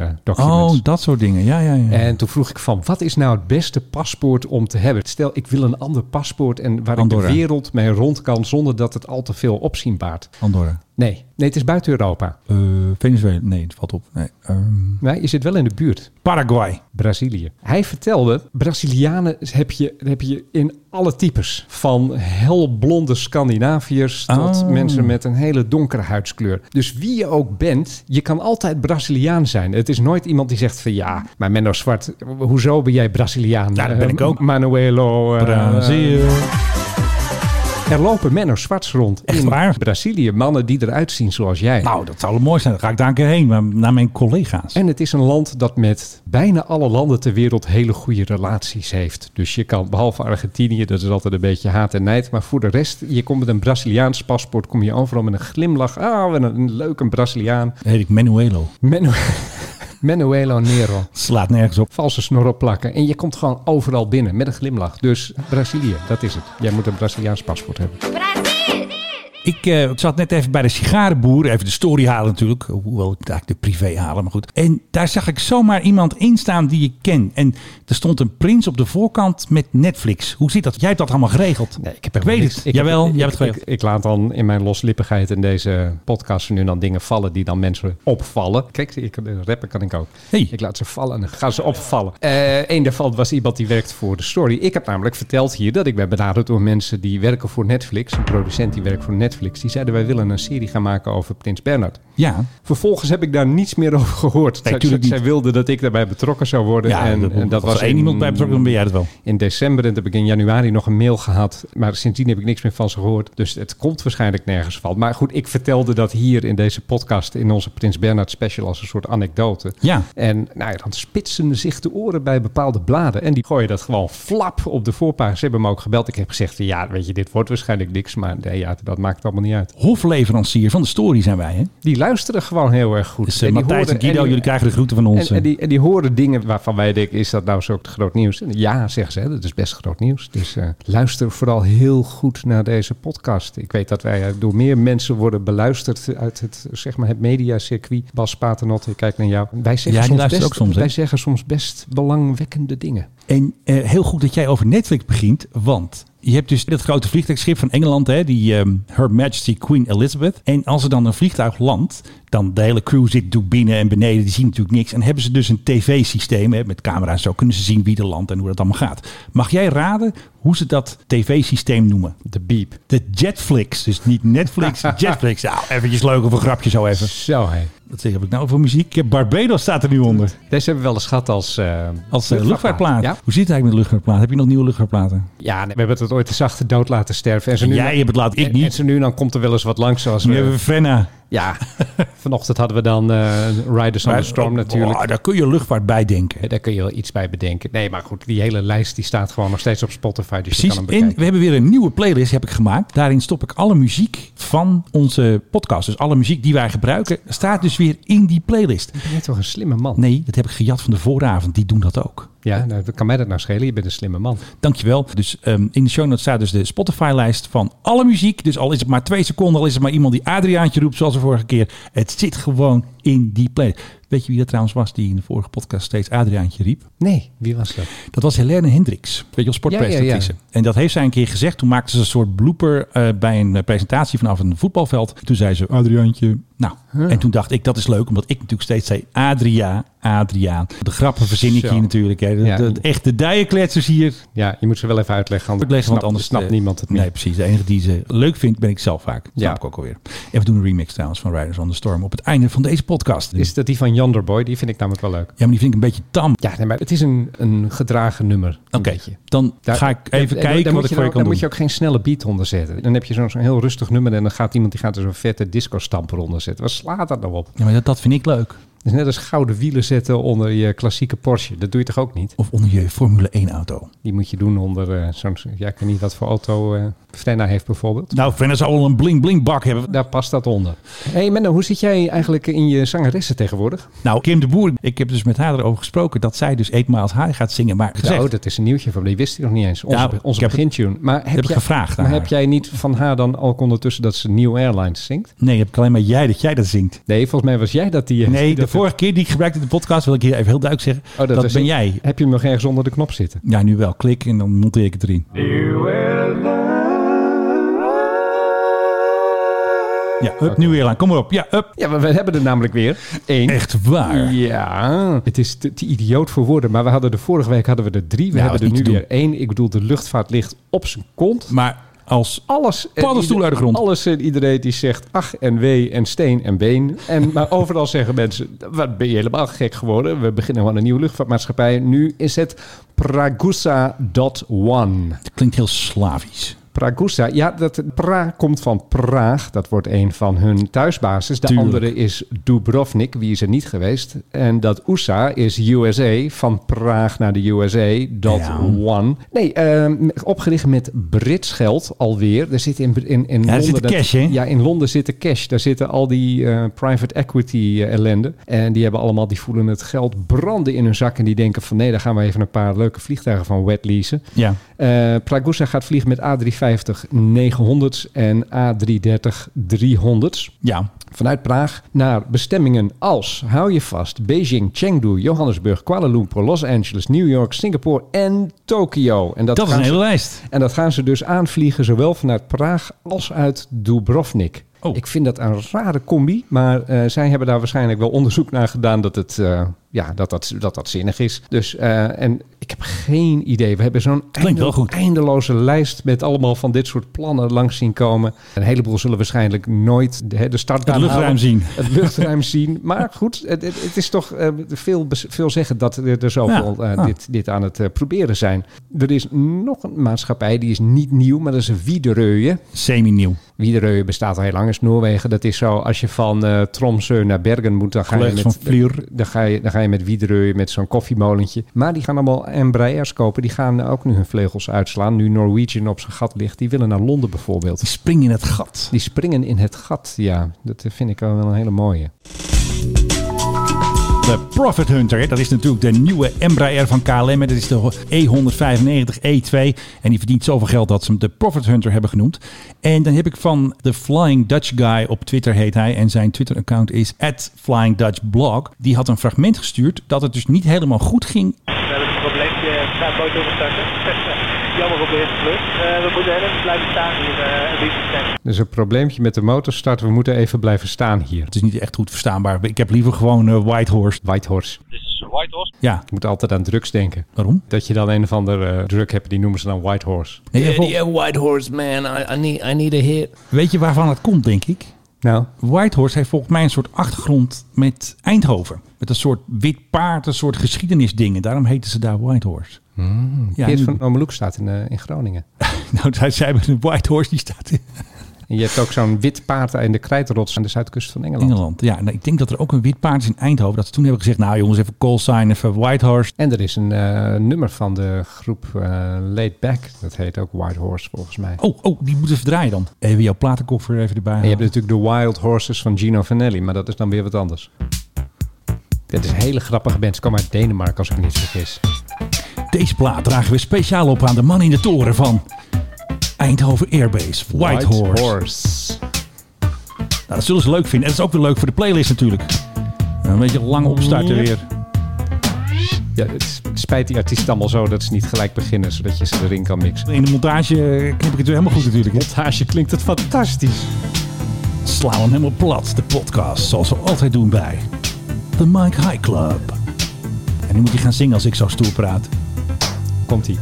S3: ID-documents.
S2: Oh, dat soort dingen. Ja, ja, ja.
S3: En toen vroeg ik van, wat is nou het beste paspoort om te hebben? Stel, ik wil een ander paspoort en waar ik
S2: Andorra.
S3: de wereld mee rond kan zonder dat het al te veel opzien baart.
S2: Andorra.
S3: Nee, nee, het is buiten Europa.
S2: Eh, Venezuela. Nee, het valt op. Nee. ehm,
S3: Nee, je zit wel in de buurt.
S2: Paraguay.
S3: Brazilië. Hij vertelde, Brazilianen heb je, heb je in alle types. Van helblonde Scandinaviërs tot
S2: Oh.
S3: mensen met een hele donkere huidskleur. Dus wie je ook bent, je kan altijd Braziliaan zijn. Het is nooit iemand die zegt van ja, maar Menno Zwart, hoezo ben jij Braziliaan?
S2: Ja, dat ben ik
S3: Eh,
S2: ook.
S3: Manuelo. eh,
S2: Brazil.
S3: er lopen Menno Zwarts rond
S2: Echt
S3: in
S2: waar?
S3: Brazilië. Mannen die eruit zien zoals jij.
S2: Nou, dat zou wel mooi zijn. Dan ga ik daar een keer heen, maar naar mijn collega's.
S3: En het is een land dat met bijna alle landen ter wereld hele goede relaties heeft. Dus je kan, behalve Argentinië, dat is altijd een beetje haat en nijd. Maar voor de rest, je komt met een Braziliaans paspoort, kom je overal met een glimlach. Ah, wat een, een leuke Braziliaan.
S2: Dan heet ik Manuelo.
S3: Menu (laughs) Manuelo Nero.
S2: Slaat nergens op.
S3: Valse snor op plakken. En je komt gewoon overal binnen met een glimlach. Dus Brazilië, dat is het. Jij moet een Braziliaans paspoort hebben.
S2: Ik eh, zat net even bij de sigarenboer. Even de story halen natuurlijk. Hoewel ik het eigenlijk de privé halen, maar goed. En daar zag ik zomaar iemand in staan die ik ken. En er stond een prins op de voorkant met Netflix. Hoe zit dat? Jij hebt dat allemaal geregeld.
S3: Nee, ik heb
S2: ik
S3: helemaal
S2: weet
S3: niks.
S2: het.
S3: Ik
S2: Jawel, jij
S3: heb- ik,
S2: hebt het geregeld.
S3: ik, ik laat dan in mijn loslippigheid in deze podcast nu dan dingen vallen die dan mensen opvallen. Kijk, ik, eh, rappen kan ik ook.
S2: Hey.
S3: Ik laat ze vallen en dan gaan ze opvallen. Eh een daarvan was iemand die werkt voor de story. Ik heb namelijk verteld hier dat ik ben benaderd door mensen die werken voor Netflix. Een producent die werkt voor Netflix. Die zeiden wij willen een serie gaan maken over Prins Bernard.
S2: Ja,
S3: Vervolgens heb ik daar niets meer over gehoord. zij,
S2: tuurlijk
S3: zij
S2: niet.
S3: wilden dat ik daarbij betrokken zou worden.
S2: ja
S3: en, en dat was
S2: één
S3: in-
S2: iemand bij betrokken, dan ben jij dat wel.
S3: in december en toen heb ik in januari nog een mail gehad. Maar sindsdien heb ik niks meer van ze gehoord. Dus het komt waarschijnlijk nergens van. Maar goed, ik vertelde dat hier in deze podcast, in onze Prins Bernhard special, als een soort anekdote.
S2: Ja.
S3: En nou ja, dan spitsen zich de oren bij bepaalde bladen. En die gooien dat gewoon flap op de voorpagina. Ze hebben me ook gebeld. Ik heb gezegd, ja, weet je, dit wordt waarschijnlijk niks. Maar nee, ja, dat maakt allemaal niet uit.
S2: Hofleverancier van de story zijn wij, hè?
S3: Die luisteren gewoon heel erg goed.
S2: Dus eh,
S3: En die
S2: Matthijs
S3: horen-
S2: en Guido,
S3: die-
S2: jullie krijgen de groeten van ons.
S3: en, en,
S2: eh.
S3: die, en die horen dingen waarvan wij denken, is dat nou zo groot nieuws? En ja, zeggen ze, hè, dat is best groot nieuws. Dus eh, luister vooral heel goed naar deze podcast. Ik weet dat wij eh, door meer mensen worden beluisterd uit het, zeg maar, het mediacircuit. Bas Paternotte, ik kijk naar jou. Wij zeggen,
S2: Ja, die
S3: soms,
S2: luistert
S3: best,
S2: ook soms, hè?
S3: wij zeggen soms best belangwekkende dingen.
S2: En eh, heel goed dat jij over Netflix begint, want je hebt dus dat grote vliegtuigschip van Engeland, hè, die ehm, Her Majesty Queen Elizabeth. En als er dan een vliegtuig landt, dan de hele crew zit doe binnen en beneden, die zien natuurlijk niks. En hebben ze dus een tv-systeem hè, met camera's, en zo kunnen ze zien wie er landt en hoe dat allemaal gaat. Mag jij raden hoe ze dat tv-systeem noemen?
S3: De beep.
S2: De Jetflix, dus niet (laughs) Netflix, Jetflix. Nou, eventjes leuk of een grapje zo even.
S3: Zo, hé.
S2: Wat heb ik nou voor muziek? Barbados staat er nu onder.
S3: Deze hebben we wel eens gehad als... eh,
S2: Als eh, luchtvaartplaat.
S3: Ja,
S2: Hoe zit het eigenlijk met luchtvaartplaat? Heb je nog nieuwe luchtvaartplaten?
S3: ja nee, we hebben het ooit de zachte dood laten sterven. En ze nu
S2: Jij hebt het laat, ik
S3: en, en
S2: niet.
S3: ze nu dan komt er wel eens wat langs zoals
S2: Nu
S3: we-
S2: hebben we Frenna.
S3: Ja, (laughs) vanochtend hadden we dan eh, Riders on the Storm natuurlijk.
S2: Oh, daar kun je luchtvaart bij denken.
S3: Eh, Daar kun je wel iets bij bedenken. Nee, maar goed, die hele lijst die staat gewoon nog steeds op Spotify. Dus je
S2: Precies.
S3: kan hem
S2: En
S3: bekijken.
S2: we hebben weer een nieuwe playlist heb ik gemaakt. Daarin stop ik alle muziek van onze podcast. Dus alle muziek die wij gebruiken staat dus weer in die playlist.
S3: Ben je toch een slimme man?
S2: Nee, dat heb ik gejat van de vooravond. Die doen dat ook.
S3: Ja, nou, dat kan mij dat nou schelen? Je bent een slimme man.
S2: Dankjewel. Dus ehm, in de show notes staat dus de Spotify-lijst van alle muziek. Dus al is het maar twee seconden, al is het maar iemand die Adriaantje roept zoals de vorige keer. Het zit gewoon in die playlist. Weet je wie dat trouwens was die in de vorige podcast steeds Adriaantje riep?
S3: Nee, wie was dat?
S2: Dat was Helene Hendricks, weet je wel, sportpresentatrice.
S3: Ja,
S2: En dat heeft zij een keer gezegd. Toen maakte ze een soort blooper eh, bij een eh, presentatie vanaf een voetbalveld. Toen zei ze, Adriaantje. Nou, en toen dacht ik, dat is leuk. Omdat ik natuurlijk steeds zei, Adria, Adriaan. De grappen verzin ik
S3: Zo.
S2: hier natuurlijk. Hè. De,
S3: Ja.
S2: de- de echte dijenkletsers hier.
S3: Ja, je moet ze wel even uitleggen. Anders,
S2: Uitleggen,
S3: snapt,
S2: want anders
S3: snapt
S2: eh,
S3: niemand het niet.
S2: Nee, precies. De enige die ze leuk vindt, ben ik zelf vaak.
S3: Ja.
S2: Snap ik ook alweer. En we doen een remix trouwens van Riders on the Storm op het einde van deze podcast.
S3: Is dat die van Janderboy? Die vind ik namelijk wel leuk.
S2: Ja, maar die vind ik een beetje tam.
S3: Ja, nee, maar het is een, een gedragen nummer. Een
S2: Oké,
S3: beetje.
S2: dan
S3: Daar-
S2: ga ik
S3: daar-
S2: even
S3: daar-
S2: kijken wat
S3: daar moet
S2: ik
S3: je
S2: voor je
S3: dan-
S2: kan
S3: Dan
S2: doen.
S3: moet je ook geen snelle beat onderzetten. Dan heb je zo'n zo'n heel rustig nummer en dan gaat iemand die gaat er zo'n vette disco-stamper onderzetten. Wat slaat dat nou op?
S2: Ja, maar dat, dat vind ik leuk.
S3: Het is net als gouden wielen zetten onder je klassieke Porsche. Dat doe je toch ook niet?
S2: Of onder je Formule 1 auto.
S3: Die moet je doen onder eh, zo'n... Ja, ik weet niet wat voor auto eh Frenna heeft bijvoorbeeld.
S2: Nou, Frenna zou wel een bling bling bak hebben.
S3: Daar past dat onder. Hé hey Menno, hoe zit jij eigenlijk in je zangeressen tegenwoordig?
S2: Nou, Kim de Boer, ik heb dus met haar erover gesproken dat zij dus Eetmaals High gaat zingen. Maar gezegd,
S3: Nou, dat is een nieuwtje van me. Die wist ik nog niet eens. Onze,
S2: Ja, Nou, ik
S3: onze
S2: heb het-
S3: begintune. Maar heb,
S2: heb ik
S3: jij,
S2: gevraagd aan
S3: maar
S2: haar.
S3: heb jij niet van haar dan ook ondertussen dat ze New Airlines zingt?
S2: nee, heb ik alleen maar jij dat jij dat zingt.
S3: Nee, volgens mij was jij dat die...
S2: Nee,
S3: die
S2: de
S3: (laughs) dat-
S2: vorige keer die ik gebruikte in de podcast, wil ik hier even heel duidelijk zeggen,
S3: Oh,
S2: dat,
S3: was
S2: ben
S3: ik.
S2: jij.
S3: Heb je hem nog ergens onder de knop zitten?
S2: Ja, nu wel. Klik en dan monteer ik het erin. Ja, up, nu weer aan. Kom maar op. Ja, up.
S3: Ja, maar we hebben er namelijk weer. Eén.
S2: Echt waar.
S3: Ja, het is te, te idioot voor woorden. Maar we hadden de vorige week hadden we er drie. We
S2: Ja,
S3: hebben
S2: dat
S3: er
S2: is niet
S3: nu
S2: te
S3: weer één. Ik bedoel, de luchtvaart ligt op zijn kont.
S2: Maar als...
S3: Alles. en
S2: Paddenstoel
S3: ieder-
S2: uit de grond.
S3: Alles en iedereen die zegt ach en wee en steen en been. En, maar (laughs) overal zeggen mensen, wat ben je helemaal gek geworden? We beginnen gewoon een nieuwe luchtvaartmaatschappij. Nu is het Pragusa.one.
S2: Het klinkt heel slavisch.
S3: Pragusa, ja, dat Pra komt van Praag. Dat wordt een van hun thuisbasis. De
S2: Tuurlijk.
S3: andere is Dubrovnik, wie is er niet geweest. En dat USA is USA, van Praag naar de USA, dat
S2: Ja.
S3: one. Nee, ehm, opgericht met Brits geld alweer. Er zit in, in, in
S2: Ja, er
S3: Londen...
S2: zit cash, hè?
S3: Ja, in Londen zit de cash. Daar zitten al die eh, private equity eh, ellende. En die hebben allemaal, die voelen het geld branden in hun zak. En die denken van nee, daar gaan we even een paar leuke vliegtuigen van wet leasen.
S2: Ja.
S3: Eh Pragusa gaat vliegen met A350-900's en A330-300's.
S2: Ja.
S3: Vanuit Praag naar bestemmingen als, hou je vast, Beijing, Chengdu, Johannesburg, Kuala Lumpur, Los Angeles, New York, Singapore en Tokio. En
S2: Dat is
S3: gaan
S2: een hele
S3: ze,
S2: lijst.
S3: en dat gaan ze dus aanvliegen, zowel vanuit Praag als uit Dubrovnik.
S2: Oh.
S3: Ik vind dat een rare combi, maar eh, zij hebben daar waarschijnlijk wel onderzoek naar gedaan dat het, eh, ja, dat dat, dat, dat zinnig is. Dus, eh, en ik Ik heb geen idee. We hebben zo'n
S2: Klinkt wel
S3: einde-
S2: goed.
S3: eindeloze lijst met allemaal van dit soort plannen langs zien komen. Een heleboel zullen waarschijnlijk nooit de, hè, de start
S2: Het luchtruim zien.
S3: het
S2: (laughs)
S3: luchtruim zien. Maar goed, het, het, het is toch eh, veel, bes- veel zeggen dat er er zoveel
S2: Ja.
S3: eh,
S2: Ah.
S3: dit, dit aan het eh, proberen zijn. Er is nog een maatschappij, die is niet nieuw, maar dat is Wiederøje.
S2: Semi-nieuw.
S3: Wiederøje bestaat al heel lang, is Noorwegen. Dat is zo, als je van eh Tromsø naar Bergen moet, dan ga, je
S2: Collega's
S3: met, eh,
S2: van Vlier.
S3: dan ga, je, dan ga je met Wiederøje met zo'n koffiemolentje. Maar die gaan allemaal Embraers kopen. Die gaan ook nu hun vleugels uitslaan. Nu Norwegian op zijn gat ligt. Die willen naar Londen bijvoorbeeld.
S2: Die spring in het gat.
S3: Die springen in het gat, ja. Dat eh, vind ik wel een hele mooie.
S2: De Profit Hunter, hè, dat is natuurlijk de nieuwe Embraer van KLM. Dat is de E195 E2. En die verdient zoveel geld dat ze hem de Profit Hunter hebben genoemd. En dan heb ik van de Flying Dutch Guy op Twitter heet hij. En zijn Twitter-account is Flying Dutch Blog. Die had een fragment gestuurd dat het dus niet helemaal goed ging.
S7: We hebben een probleempje, eh, we gaan boot overstarten. (laughs) Jammer op de eerste vlucht. Eh, we moeten heel even blijven staan hier eh en dienst zijn.
S3: Dus een probleempje met de motorstart. We moeten even blijven staan hier.
S2: Het is niet echt goed verstaanbaar. Ik heb liever gewoon eh, Whitehorse.
S3: Whitehorse.
S7: Dit is Whitehorse.
S2: Ja,
S3: Ik moet altijd aan drugs denken.
S2: waarom?
S3: Dat je dan een of andere eh, drug hebt, die noemen ze dan Whitehorse.
S2: Nee,
S9: Yeah,
S2: vol-
S9: yeah, eh, White Horse, man. I, I need I need a hit.
S2: Weet je waarvan het komt, denk ik?
S3: Nou,
S2: Whitehorse heeft volgens mij een soort achtergrond met Eindhoven. Met een soort wit paard, een soort geschiedenisdingen. Daarom heten ze daar Whitehorse. ja,
S3: Kees
S2: nu-
S3: Hmm, van Omeloek staat in, eh, in Groningen.
S2: (laughs) Nou, daar zijn we de Whitehorse, die staat in
S3: En je hebt ook zo'n wit paard in de krijtrots aan de zuidkust van Engeland.
S2: Engeland. Ja, nou, ik denk dat er ook een wit paard is in Eindhoven. Dat ze toen hebben gezegd, nou jongens, even call sign, even Whitehorse.
S3: En er is een eh, nummer van de groep eh Laid Back. Dat heet ook White Horse volgens mij.
S2: Oh, oh, die moeten verdraaien dan. Even jouw platenkoffer even erbij.
S3: En je hebt
S2: halen.
S3: natuurlijk de Wild Horses van Gino Vanelli, maar dat is dan weer wat anders. Dit is een hele grappige band. Ze komen uit Denemarken, als ik me niet vergis.
S2: Deze plaat dragen we speciaal op aan de man in de toren van Eindhoven Airbase. Whitehorse. Nou,
S3: Horse.
S2: dat zullen ze leuk vinden. En dat is ook weer leuk voor de playlist natuurlijk. Nou, Een beetje lang opstarten weer.
S3: Ja, het spijt die artiesten allemaal zo dat ze niet gelijk beginnen, zodat je ze erin kan mixen.
S2: In de montage eh, knip ik het weer helemaal goed natuurlijk. hè.
S3: Montage klinkt het fantastisch.
S2: Slaan we hem helemaal plat, de podcast, zoals we altijd doen bij The Mike High Club. En nu moet hij gaan zingen als ik zo stoer praat.
S3: Komt-ie.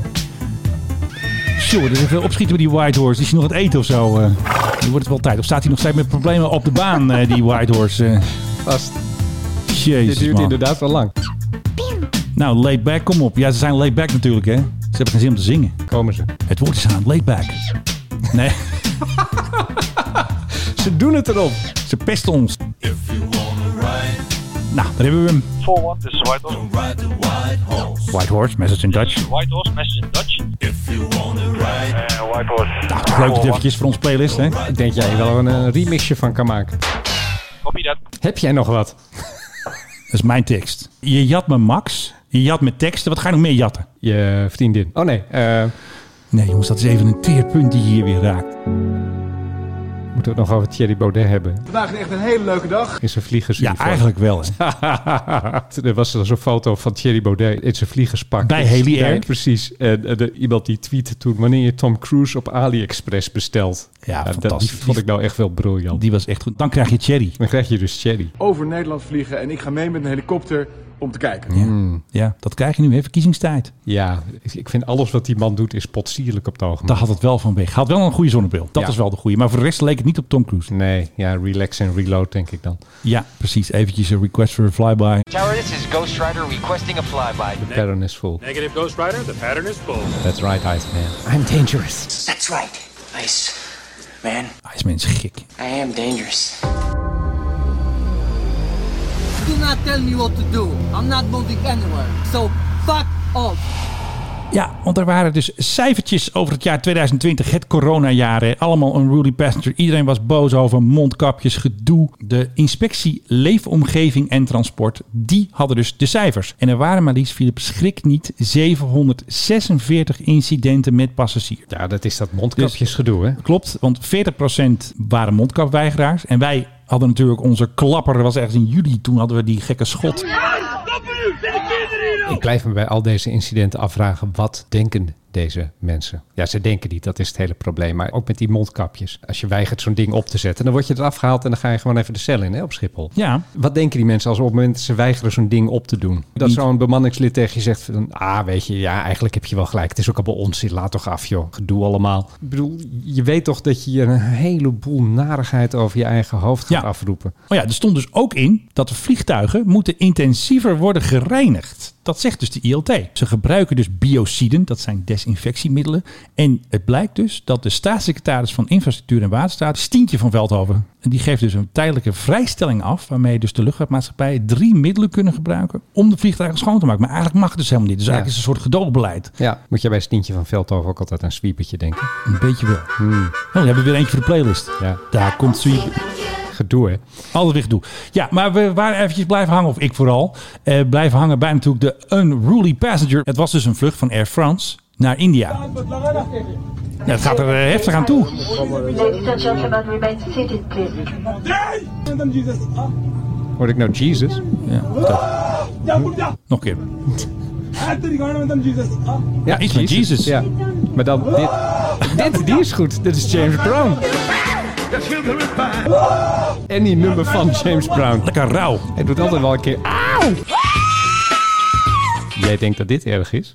S2: Sure, dus even opschieten met die Whitehorse. Is hij nog aan het eten of zo? eh? Nu wordt het wel tijd. Of staat hij nog steeds met problemen op de baan, eh, die Whitehorse? eh?
S3: Vast. Dit
S2: jezus,
S3: duurt
S2: man.
S3: inderdaad wel lang.
S2: Nou, laid back, kom op. Ja, ze zijn laid back natuurlijk, hè. Ze hebben geen zin om te zingen.
S3: Komen ze.
S2: Het woord is aan, laid back. Nee,
S3: Ze doen het erop.
S2: ze pesten ons. Nou, daar hebben we hem.
S7: Forward, dit is Whitehorse.
S2: Whitehorse, message in Dutch.
S7: Whitehorse, message in Dutch. Eh, Whitehorse.
S2: Nou, toch leuk dat het eventjes voor ons playlist, hè.
S3: Ik denk jij wel een, eh, remixje van kan maken.
S7: Copy that.
S3: Heb jij nog wat?
S2: Dat is mijn tekst. Je jat me Max. Je jat me teksten. Wat ga je nog meer jatten?
S3: Je vriendin. Oh nee, eh,
S2: Nee, jongens, dat is even een teerpunt die je hier weer raakt.
S3: moeten we het nog over Thierry Baudet hebben? Vandaag echt een hele leuke dag. In zijn
S2: Ja,
S3: vliegersuniform.
S2: eigenlijk wel. Hè.
S3: (laughs) er was er zo'n foto van Thierry Baudet in zijn vliegerspak.
S2: Bij Haley
S3: Ja,
S2: Air.
S3: Precies. En, eh, de- iemand die tweette toen wanneer je Tom Cruise op AliExpress bestelt.
S2: Ja,
S3: dat-
S2: fantastisch.
S3: Die vond ik nou echt wel briljant.
S2: Die was echt goed. Dan krijg je Cherry.
S3: Dan krijg je dus Thierry.
S10: over Nederland vliegen en ik ga mee met een helikopter om te kijken.
S2: Ja. ja, dat krijg je nu, hè? Verkiezingstijd.
S3: Ja, ik- ik vind alles wat die man doet is potsierlijk op het ogenblik.
S2: Daar had het wel van weg. Had wel een goede zonnebril. Dat
S3: Ja.
S2: is wel de goede. Maar voor de rest leek het niet op Tom Cruise.
S3: Nee, ja, relax en reload denk ik dan.
S2: Ja, precies. Eventjes een request for a flyby.
S9: Tower, this is Ghost Rider requesting a flyby.
S3: The pattern is full.
S7: Negative Ghost Rider, the pattern is full.
S3: That's right, Ice Man. I'm dangerous.
S9: That's right. Ice, man.
S2: Iceman is gek.
S9: I am dangerous.
S11: Do not tell me what to do. I'm not moving anywhere. So fuck off.
S2: Ja, want er waren dus cijfertjes over het jaar 2020, het coronajaar. hè. Allemaal een ruly passenger. Iedereen was boos over mondkapjes, gedoe. De inspectie Leefomgeving en Transport, die hadden dus de cijfers. En er waren maar liefst, Philip, schrik niet, 746 incidenten met passagiers.
S3: Ja, dat is dat mondkapjesgedoe, hè?
S2: Klopt, want 40% waren mondkapweigeraars. En wij hadden natuurlijk onze klapper, dat was ergens in juli, toen hadden we die gekke schot.
S3: Ik blijf me bij al deze incidenten afvragen, wat denken deze mensen. Ja, ze denken niet, dat is het hele probleem. Maar ook met die mondkapjes. Als je weigert zo'n ding op te zetten, dan word je eraf gehaald en dan ga je gewoon even de cel in hè, op Schiphol.
S2: Ja.
S3: Wat denken die mensen als op het moment dat ze weigeren zo'n ding op te doen? Dat
S2: Niet.
S3: zo'n bemanningslid tegen je zegt van, ah weet je, ja eigenlijk heb je wel gelijk. Het is ook allemaal onzin, laat toch af joh, gedoe allemaal. Ik bedoel, je weet toch dat je hier een heleboel narigheid over je eigen hoofd gaat afroepen.
S2: Oh ja, er stond dus ook in dat de vliegtuigen moeten intensiever worden gereinigd. Dat zegt dus de ILT. Ze gebruiken dus biociden, dat zijn desinfectiemiddelen. En het blijkt dus dat de staatssecretaris van Infrastructuur en Waterstaat, Stientje van Veldhoven, en die geeft dus een tijdelijke vrijstelling af, waarmee dus de luchtvaartmaatschappij drie middelen kunnen gebruiken om de vliegtuigen schoon te maken. Maar eigenlijk mag het dus helemaal niet. Dus eigenlijk is het een soort gedoogbeleid.
S3: Ja, moet jij bij Stientje van Veldhoven ook altijd aan Swiepertje denken?
S2: Een beetje wel. Oh, we hebben weer eentje voor de playlist.
S3: Ja.
S2: Daar komt Sweep.
S3: Gedoe, hè?
S2: Altijd weer gedoe. Ja, maar we waren eventjes blijven hangen, of ik vooral. Eh, blijven hangen bij natuurlijk de Unruly Passenger. Het was dus een vlucht van Air France naar India. Ja, het gaat er eh, heftig aan toe.
S3: Word ik nou Jesus?
S2: Nog een keer. Ja, iets met Jesus.
S3: Ja. Maar dan dit. dit, die is goed. Dit is James Brown. En die nummer van James Brown.
S2: Lekker rauw.
S3: Hij doet altijd wel een keer... Auw! Jij denkt dat dit erg is?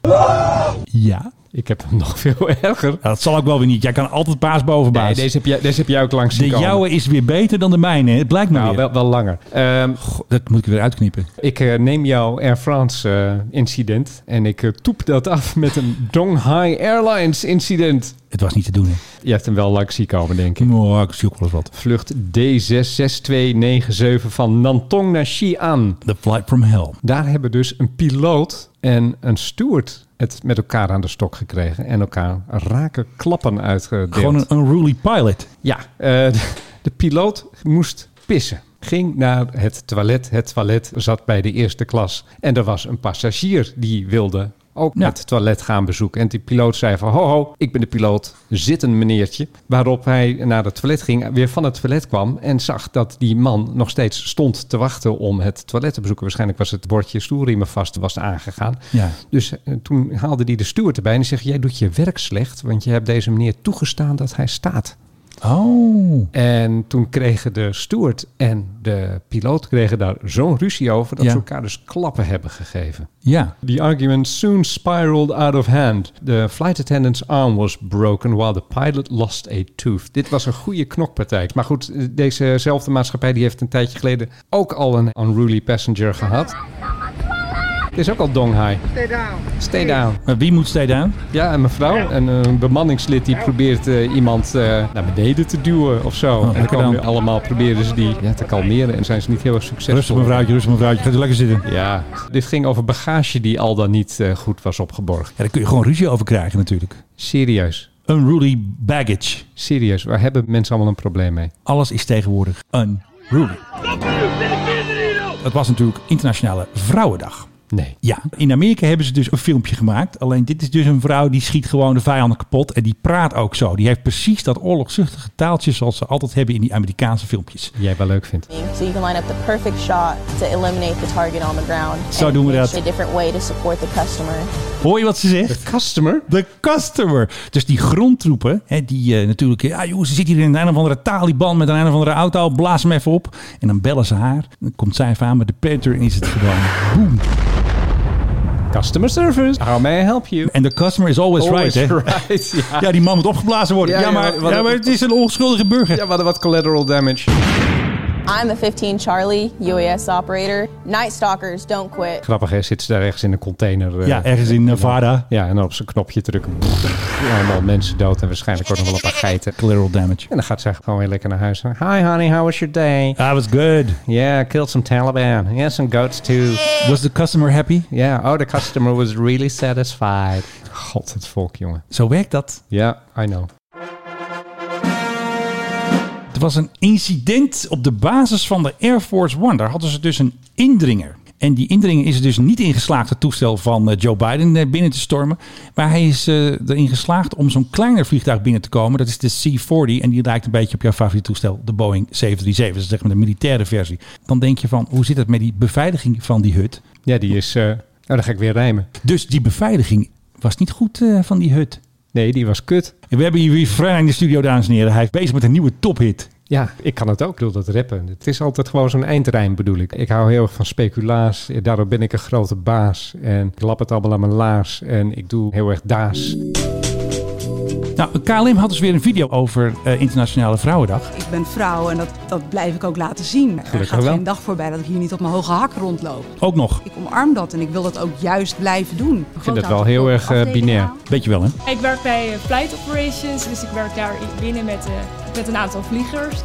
S2: Ja.
S3: Ik heb hem nog (laughs) veel erger.
S2: Ja, dat zal ook wel weer niet. Jij kan altijd paas boven baas.
S3: Nee, deze heb jij, deze heb jij ook langs
S2: de
S3: zien komen.
S2: jouwe is weer beter dan de mijne. hè? Het blijkt me
S3: Nou,
S2: weer.
S3: wel, wel langer. Ehm,
S2: Dat moet ik weer uitknippen.
S3: ik eh, neem jouw Air France eh, incident en ik eh, toep dat af met een Donghai Airlines incident.
S2: Het was niet te doen, hè.
S3: Je hebt hem wel langs zien komen, denk ik.
S2: Oh, ik zie ook wel eens wat.
S3: Vlucht D66297 van Nantong naar Xi'an.
S2: The Flight from Hell.
S3: Daar hebben dus een piloot en een steward het met elkaar aan de stok gekregen. En elkaar raken klappen eh, uitgedeeld.
S2: Gewoon een unruly pilot.
S3: Ja, eh, de, de piloot moest pissen. Ging naar het toilet. Het toilet zat bij de eerste klas. En er was een passagier die wilde ook
S2: Ja.
S3: het toilet gaan bezoeken. En die piloot zei van, ho ho, ik ben de piloot. Zit een meneertje. Waarop hij naar het toilet ging, weer van het toilet kwam... en zag dat die man nog steeds stond te wachten om het toilet te bezoeken. Waarschijnlijk was het bordje stoelriemen vast was aangegaan.
S2: Ja.
S3: Dus eh, toen haalde hij de steward erbij en die zegt... jij doet je werk slecht, want je hebt deze meneer toegestaan dat hij staat.
S2: Oh.
S3: En toen kregen de steward en de piloot kregen daar zo'n ruzie over dat
S2: Ja.
S3: ze elkaar dus klappen hebben gegeven.
S2: Ja.
S3: The argument soon spiraled out of hand. The flight attendant's arm was broken while the pilot lost a tooth. Dit was een goede knokpartij. Maar goed, dezezelfde maatschappij die heeft een tijdje geleden ook al een unruly passenger gehad. Het is ook al donghai.
S11: Stay down.
S3: Stay down.
S2: Maar wie moet stay down?
S3: Ja, een mevrouw, een, eh, bemanningslid, die probeert eh, iemand eh, naar beneden te duwen of zo. en dan
S2: Oh, lekker
S3: komen
S2: dan.
S3: nu allemaal proberen ze die ja, te kalmeren en zijn ze niet heel erg succesvol.
S2: Rustig mevrouwtje, rustig mevrouwtje. Gaat u lekker zitten. Ja,
S3: Ja, dit ging over bagage die al dan niet eh, goed was opgeborgen.
S2: daar kun je gewoon ruzie over krijgen natuurlijk.
S3: Serieus,
S2: Unruly baggage.
S3: serieus, waar hebben mensen allemaal een probleem mee?
S2: Alles is tegenwoordig unruly. Het was natuurlijk Internationale Vrouwendag.
S3: Nee.
S2: Ja, in Amerika hebben ze dus een filmpje gemaakt. Alleen dit is dus een vrouw die schiet gewoon de vijanden kapot. En die praat ook zo. Die heeft precies dat oorlogzuchtige taaltje zoals ze altijd hebben in die Amerikaanse filmpjes.
S3: Jij wel leuk vindt.
S12: So you can line up the perfect shot to eliminate the target on the ground.
S2: Zo
S12: and
S2: doen we
S12: it's
S2: dat.
S12: A different way to support the customer.
S2: Hoor je wat ze zegt?
S3: Customer?
S2: De customer. Dus die grondtroepen, hè, die eh, natuurlijk... Ja, joh, ze zit hier in een of andere Taliban met een, een of andere auto. Blaas hem even op. En dan bellen ze haar. Dan komt zij even aan met de peter en is het gewoon boem.
S3: Customer service. How may I help you?
S2: En de customer is always,
S3: Always
S2: right, hè?
S3: right, (laughs) ja.
S2: Ja, die man moet opgeblazen worden. Ja,
S3: Ja, ja,
S2: maar,
S3: wat-
S2: ja, maar het is een onschuldige burger.
S3: Ja, we hadden wat collateral damage.
S12: I'm the 15 Charlie UAS operator. Night stalkers don't quit.
S3: Grappig hè, zit ze daar ergens in een container. eh,
S2: Ja, ergens in Nevada.
S3: Ja, en dan op zijn knopje drukken. Pff, allemaal mensen dood en waarschijnlijk ook nog wel een paar geiten.
S2: Collateral damage.
S3: En dan gaat ze gewoon weer lekker naar huis. Hi honey, how was your day?
S2: I was good.
S3: Yeah, I killed some Taliban. Yeah, some goats too.
S2: Was the customer happy?
S3: Yeah, oh, the customer was really satisfied. God, het volk, jongen.
S2: Zo werkt dat.
S3: Ja, I know.
S2: Er was een incident op de basis van de Air Force One. Daar hadden ze dus een indringer. En die indringer is er dus niet in geslaagd het toestel van eh, Joe Biden eh, binnen te stormen. Maar hij is eh, erin geslaagd om zo'n kleiner vliegtuig binnen te komen. Dat is de C-40. En die lijkt een beetje op jouw favoriete toestel, de Boeing 737. Dat is zeg maar de militaire versie. Dan denk je van, hoe zit het met die beveiliging van die hut?
S3: Ja, die is... eh, Oh, dan ga ik weer rijmen.
S2: Dus die beveiliging was niet goed eh, van die hut.
S3: Nee, die was kut.
S2: En we hebben hier weer Frenna in de studio, dames en heren. Hij is bezig met een nieuwe tophit.
S3: Ja, ik kan het ook. Ik bedoel, dat rappen. Het is altijd gewoon zo'n eindrijm, bedoel ik. Ik hou heel erg van speculaas. Daarom ben ik een grote baas. En ik lap het allemaal aan mijn laars. En ik doe heel erg daas.
S2: Nou, KLM had dus weer een video over eh, Internationale Vrouwendag.
S13: Ik ben vrouw en dat, dat blijf ik ook laten zien. er
S2: Gelukkig
S13: gaat
S2: wel.
S13: geen dag voorbij dat ik hier niet op mijn hoge hak rondloop.
S2: Ook nog.
S13: Ik omarm dat en ik wil dat ook juist blijven doen.
S3: Ik vind dat wel heel erg eh, binair.
S2: Weet je wel, hè?
S14: Ik werk bij eh, Flight Operations, dus ik werk daar binnen met, eh, met een aantal vliegers.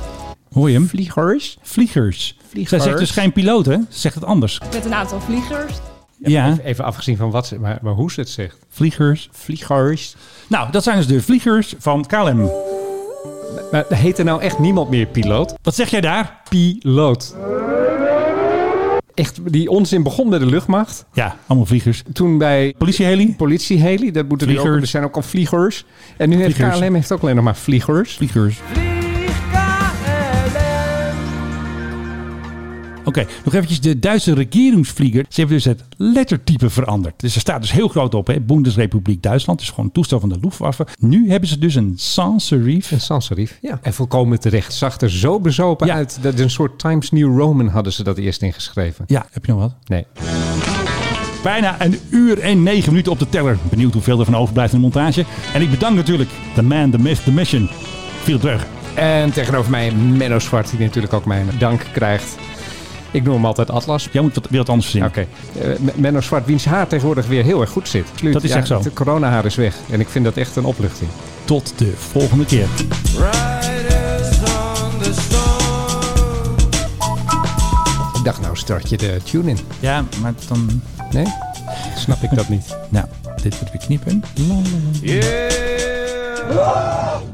S2: Hoor je hem? Vliegers. Vliegers. Zij zegt dus geen piloot, hè? Ze zegt het anders.
S14: Met een aantal vliegers.
S2: Ja.
S3: Even, even afgezien van wat ze, maar, maar hoe ze het zegt.
S2: Vliegers.
S3: Vliegers.
S2: Nou, dat zijn dus de vliegers van KLM.
S3: Maar heet er nou echt niemand meer piloot?
S2: Wat zeg jij daar?
S3: Piloot. Echt, die onzin begon bij de luchtmacht.
S2: Ja, allemaal vliegers.
S3: Toen bij...
S2: Politieheli?
S3: Politieheli, dat moeten die ook,
S2: Vliegers.
S3: er zijn ook al vliegers. En nu heeft
S2: Vliegers.
S3: KLM heeft ook alleen nog maar vliegers.
S2: Vliegers. Oké, nog eventjes de Duitse regeringsvlieger. Ze hebben dus het lettertype veranderd. Dus er staat dus heel groot op, hè? Bundesrepubliek Duitsland. Dus gewoon een toestel van de Luftwaffe. Nu hebben ze dus een sans serif.
S3: Een sans serif, ja. En volkomen terecht. Zag er zo bezopen uit. Dat een soort Times New Roman hadden ze dat eerst ingeschreven.
S2: Ja, heb je nog wat?
S3: Nee.
S2: Bijna een uur en negen minuten op de teller. Benieuwd hoeveel er van overblijft in de montage. En ik bedank natuurlijk de man, the myth, the mission. Viel terug.
S3: En tegenover mij Menno Zwart, die natuurlijk ook mijn dank krijgt. Ik noem hem altijd Atlas.
S2: Jij moet wat, weer wat anders verzinnen.
S3: Oké. Eh, M- Menno Zwart, wiens haar tegenwoordig weer heel erg goed zit. Absoluut.
S2: Dat is
S3: Ja,
S2: echt zo.
S3: De coronahaar is weg. En ik vind dat echt een opluchting.
S2: Tot de volgende keer.
S3: Ik dacht, nou start je de tune-in.
S2: Ja, maar dan...
S3: Nee? Snap ik dat niet.
S2: Nou, dit wordt weer knippen. La, la, la.
S8: Yeah.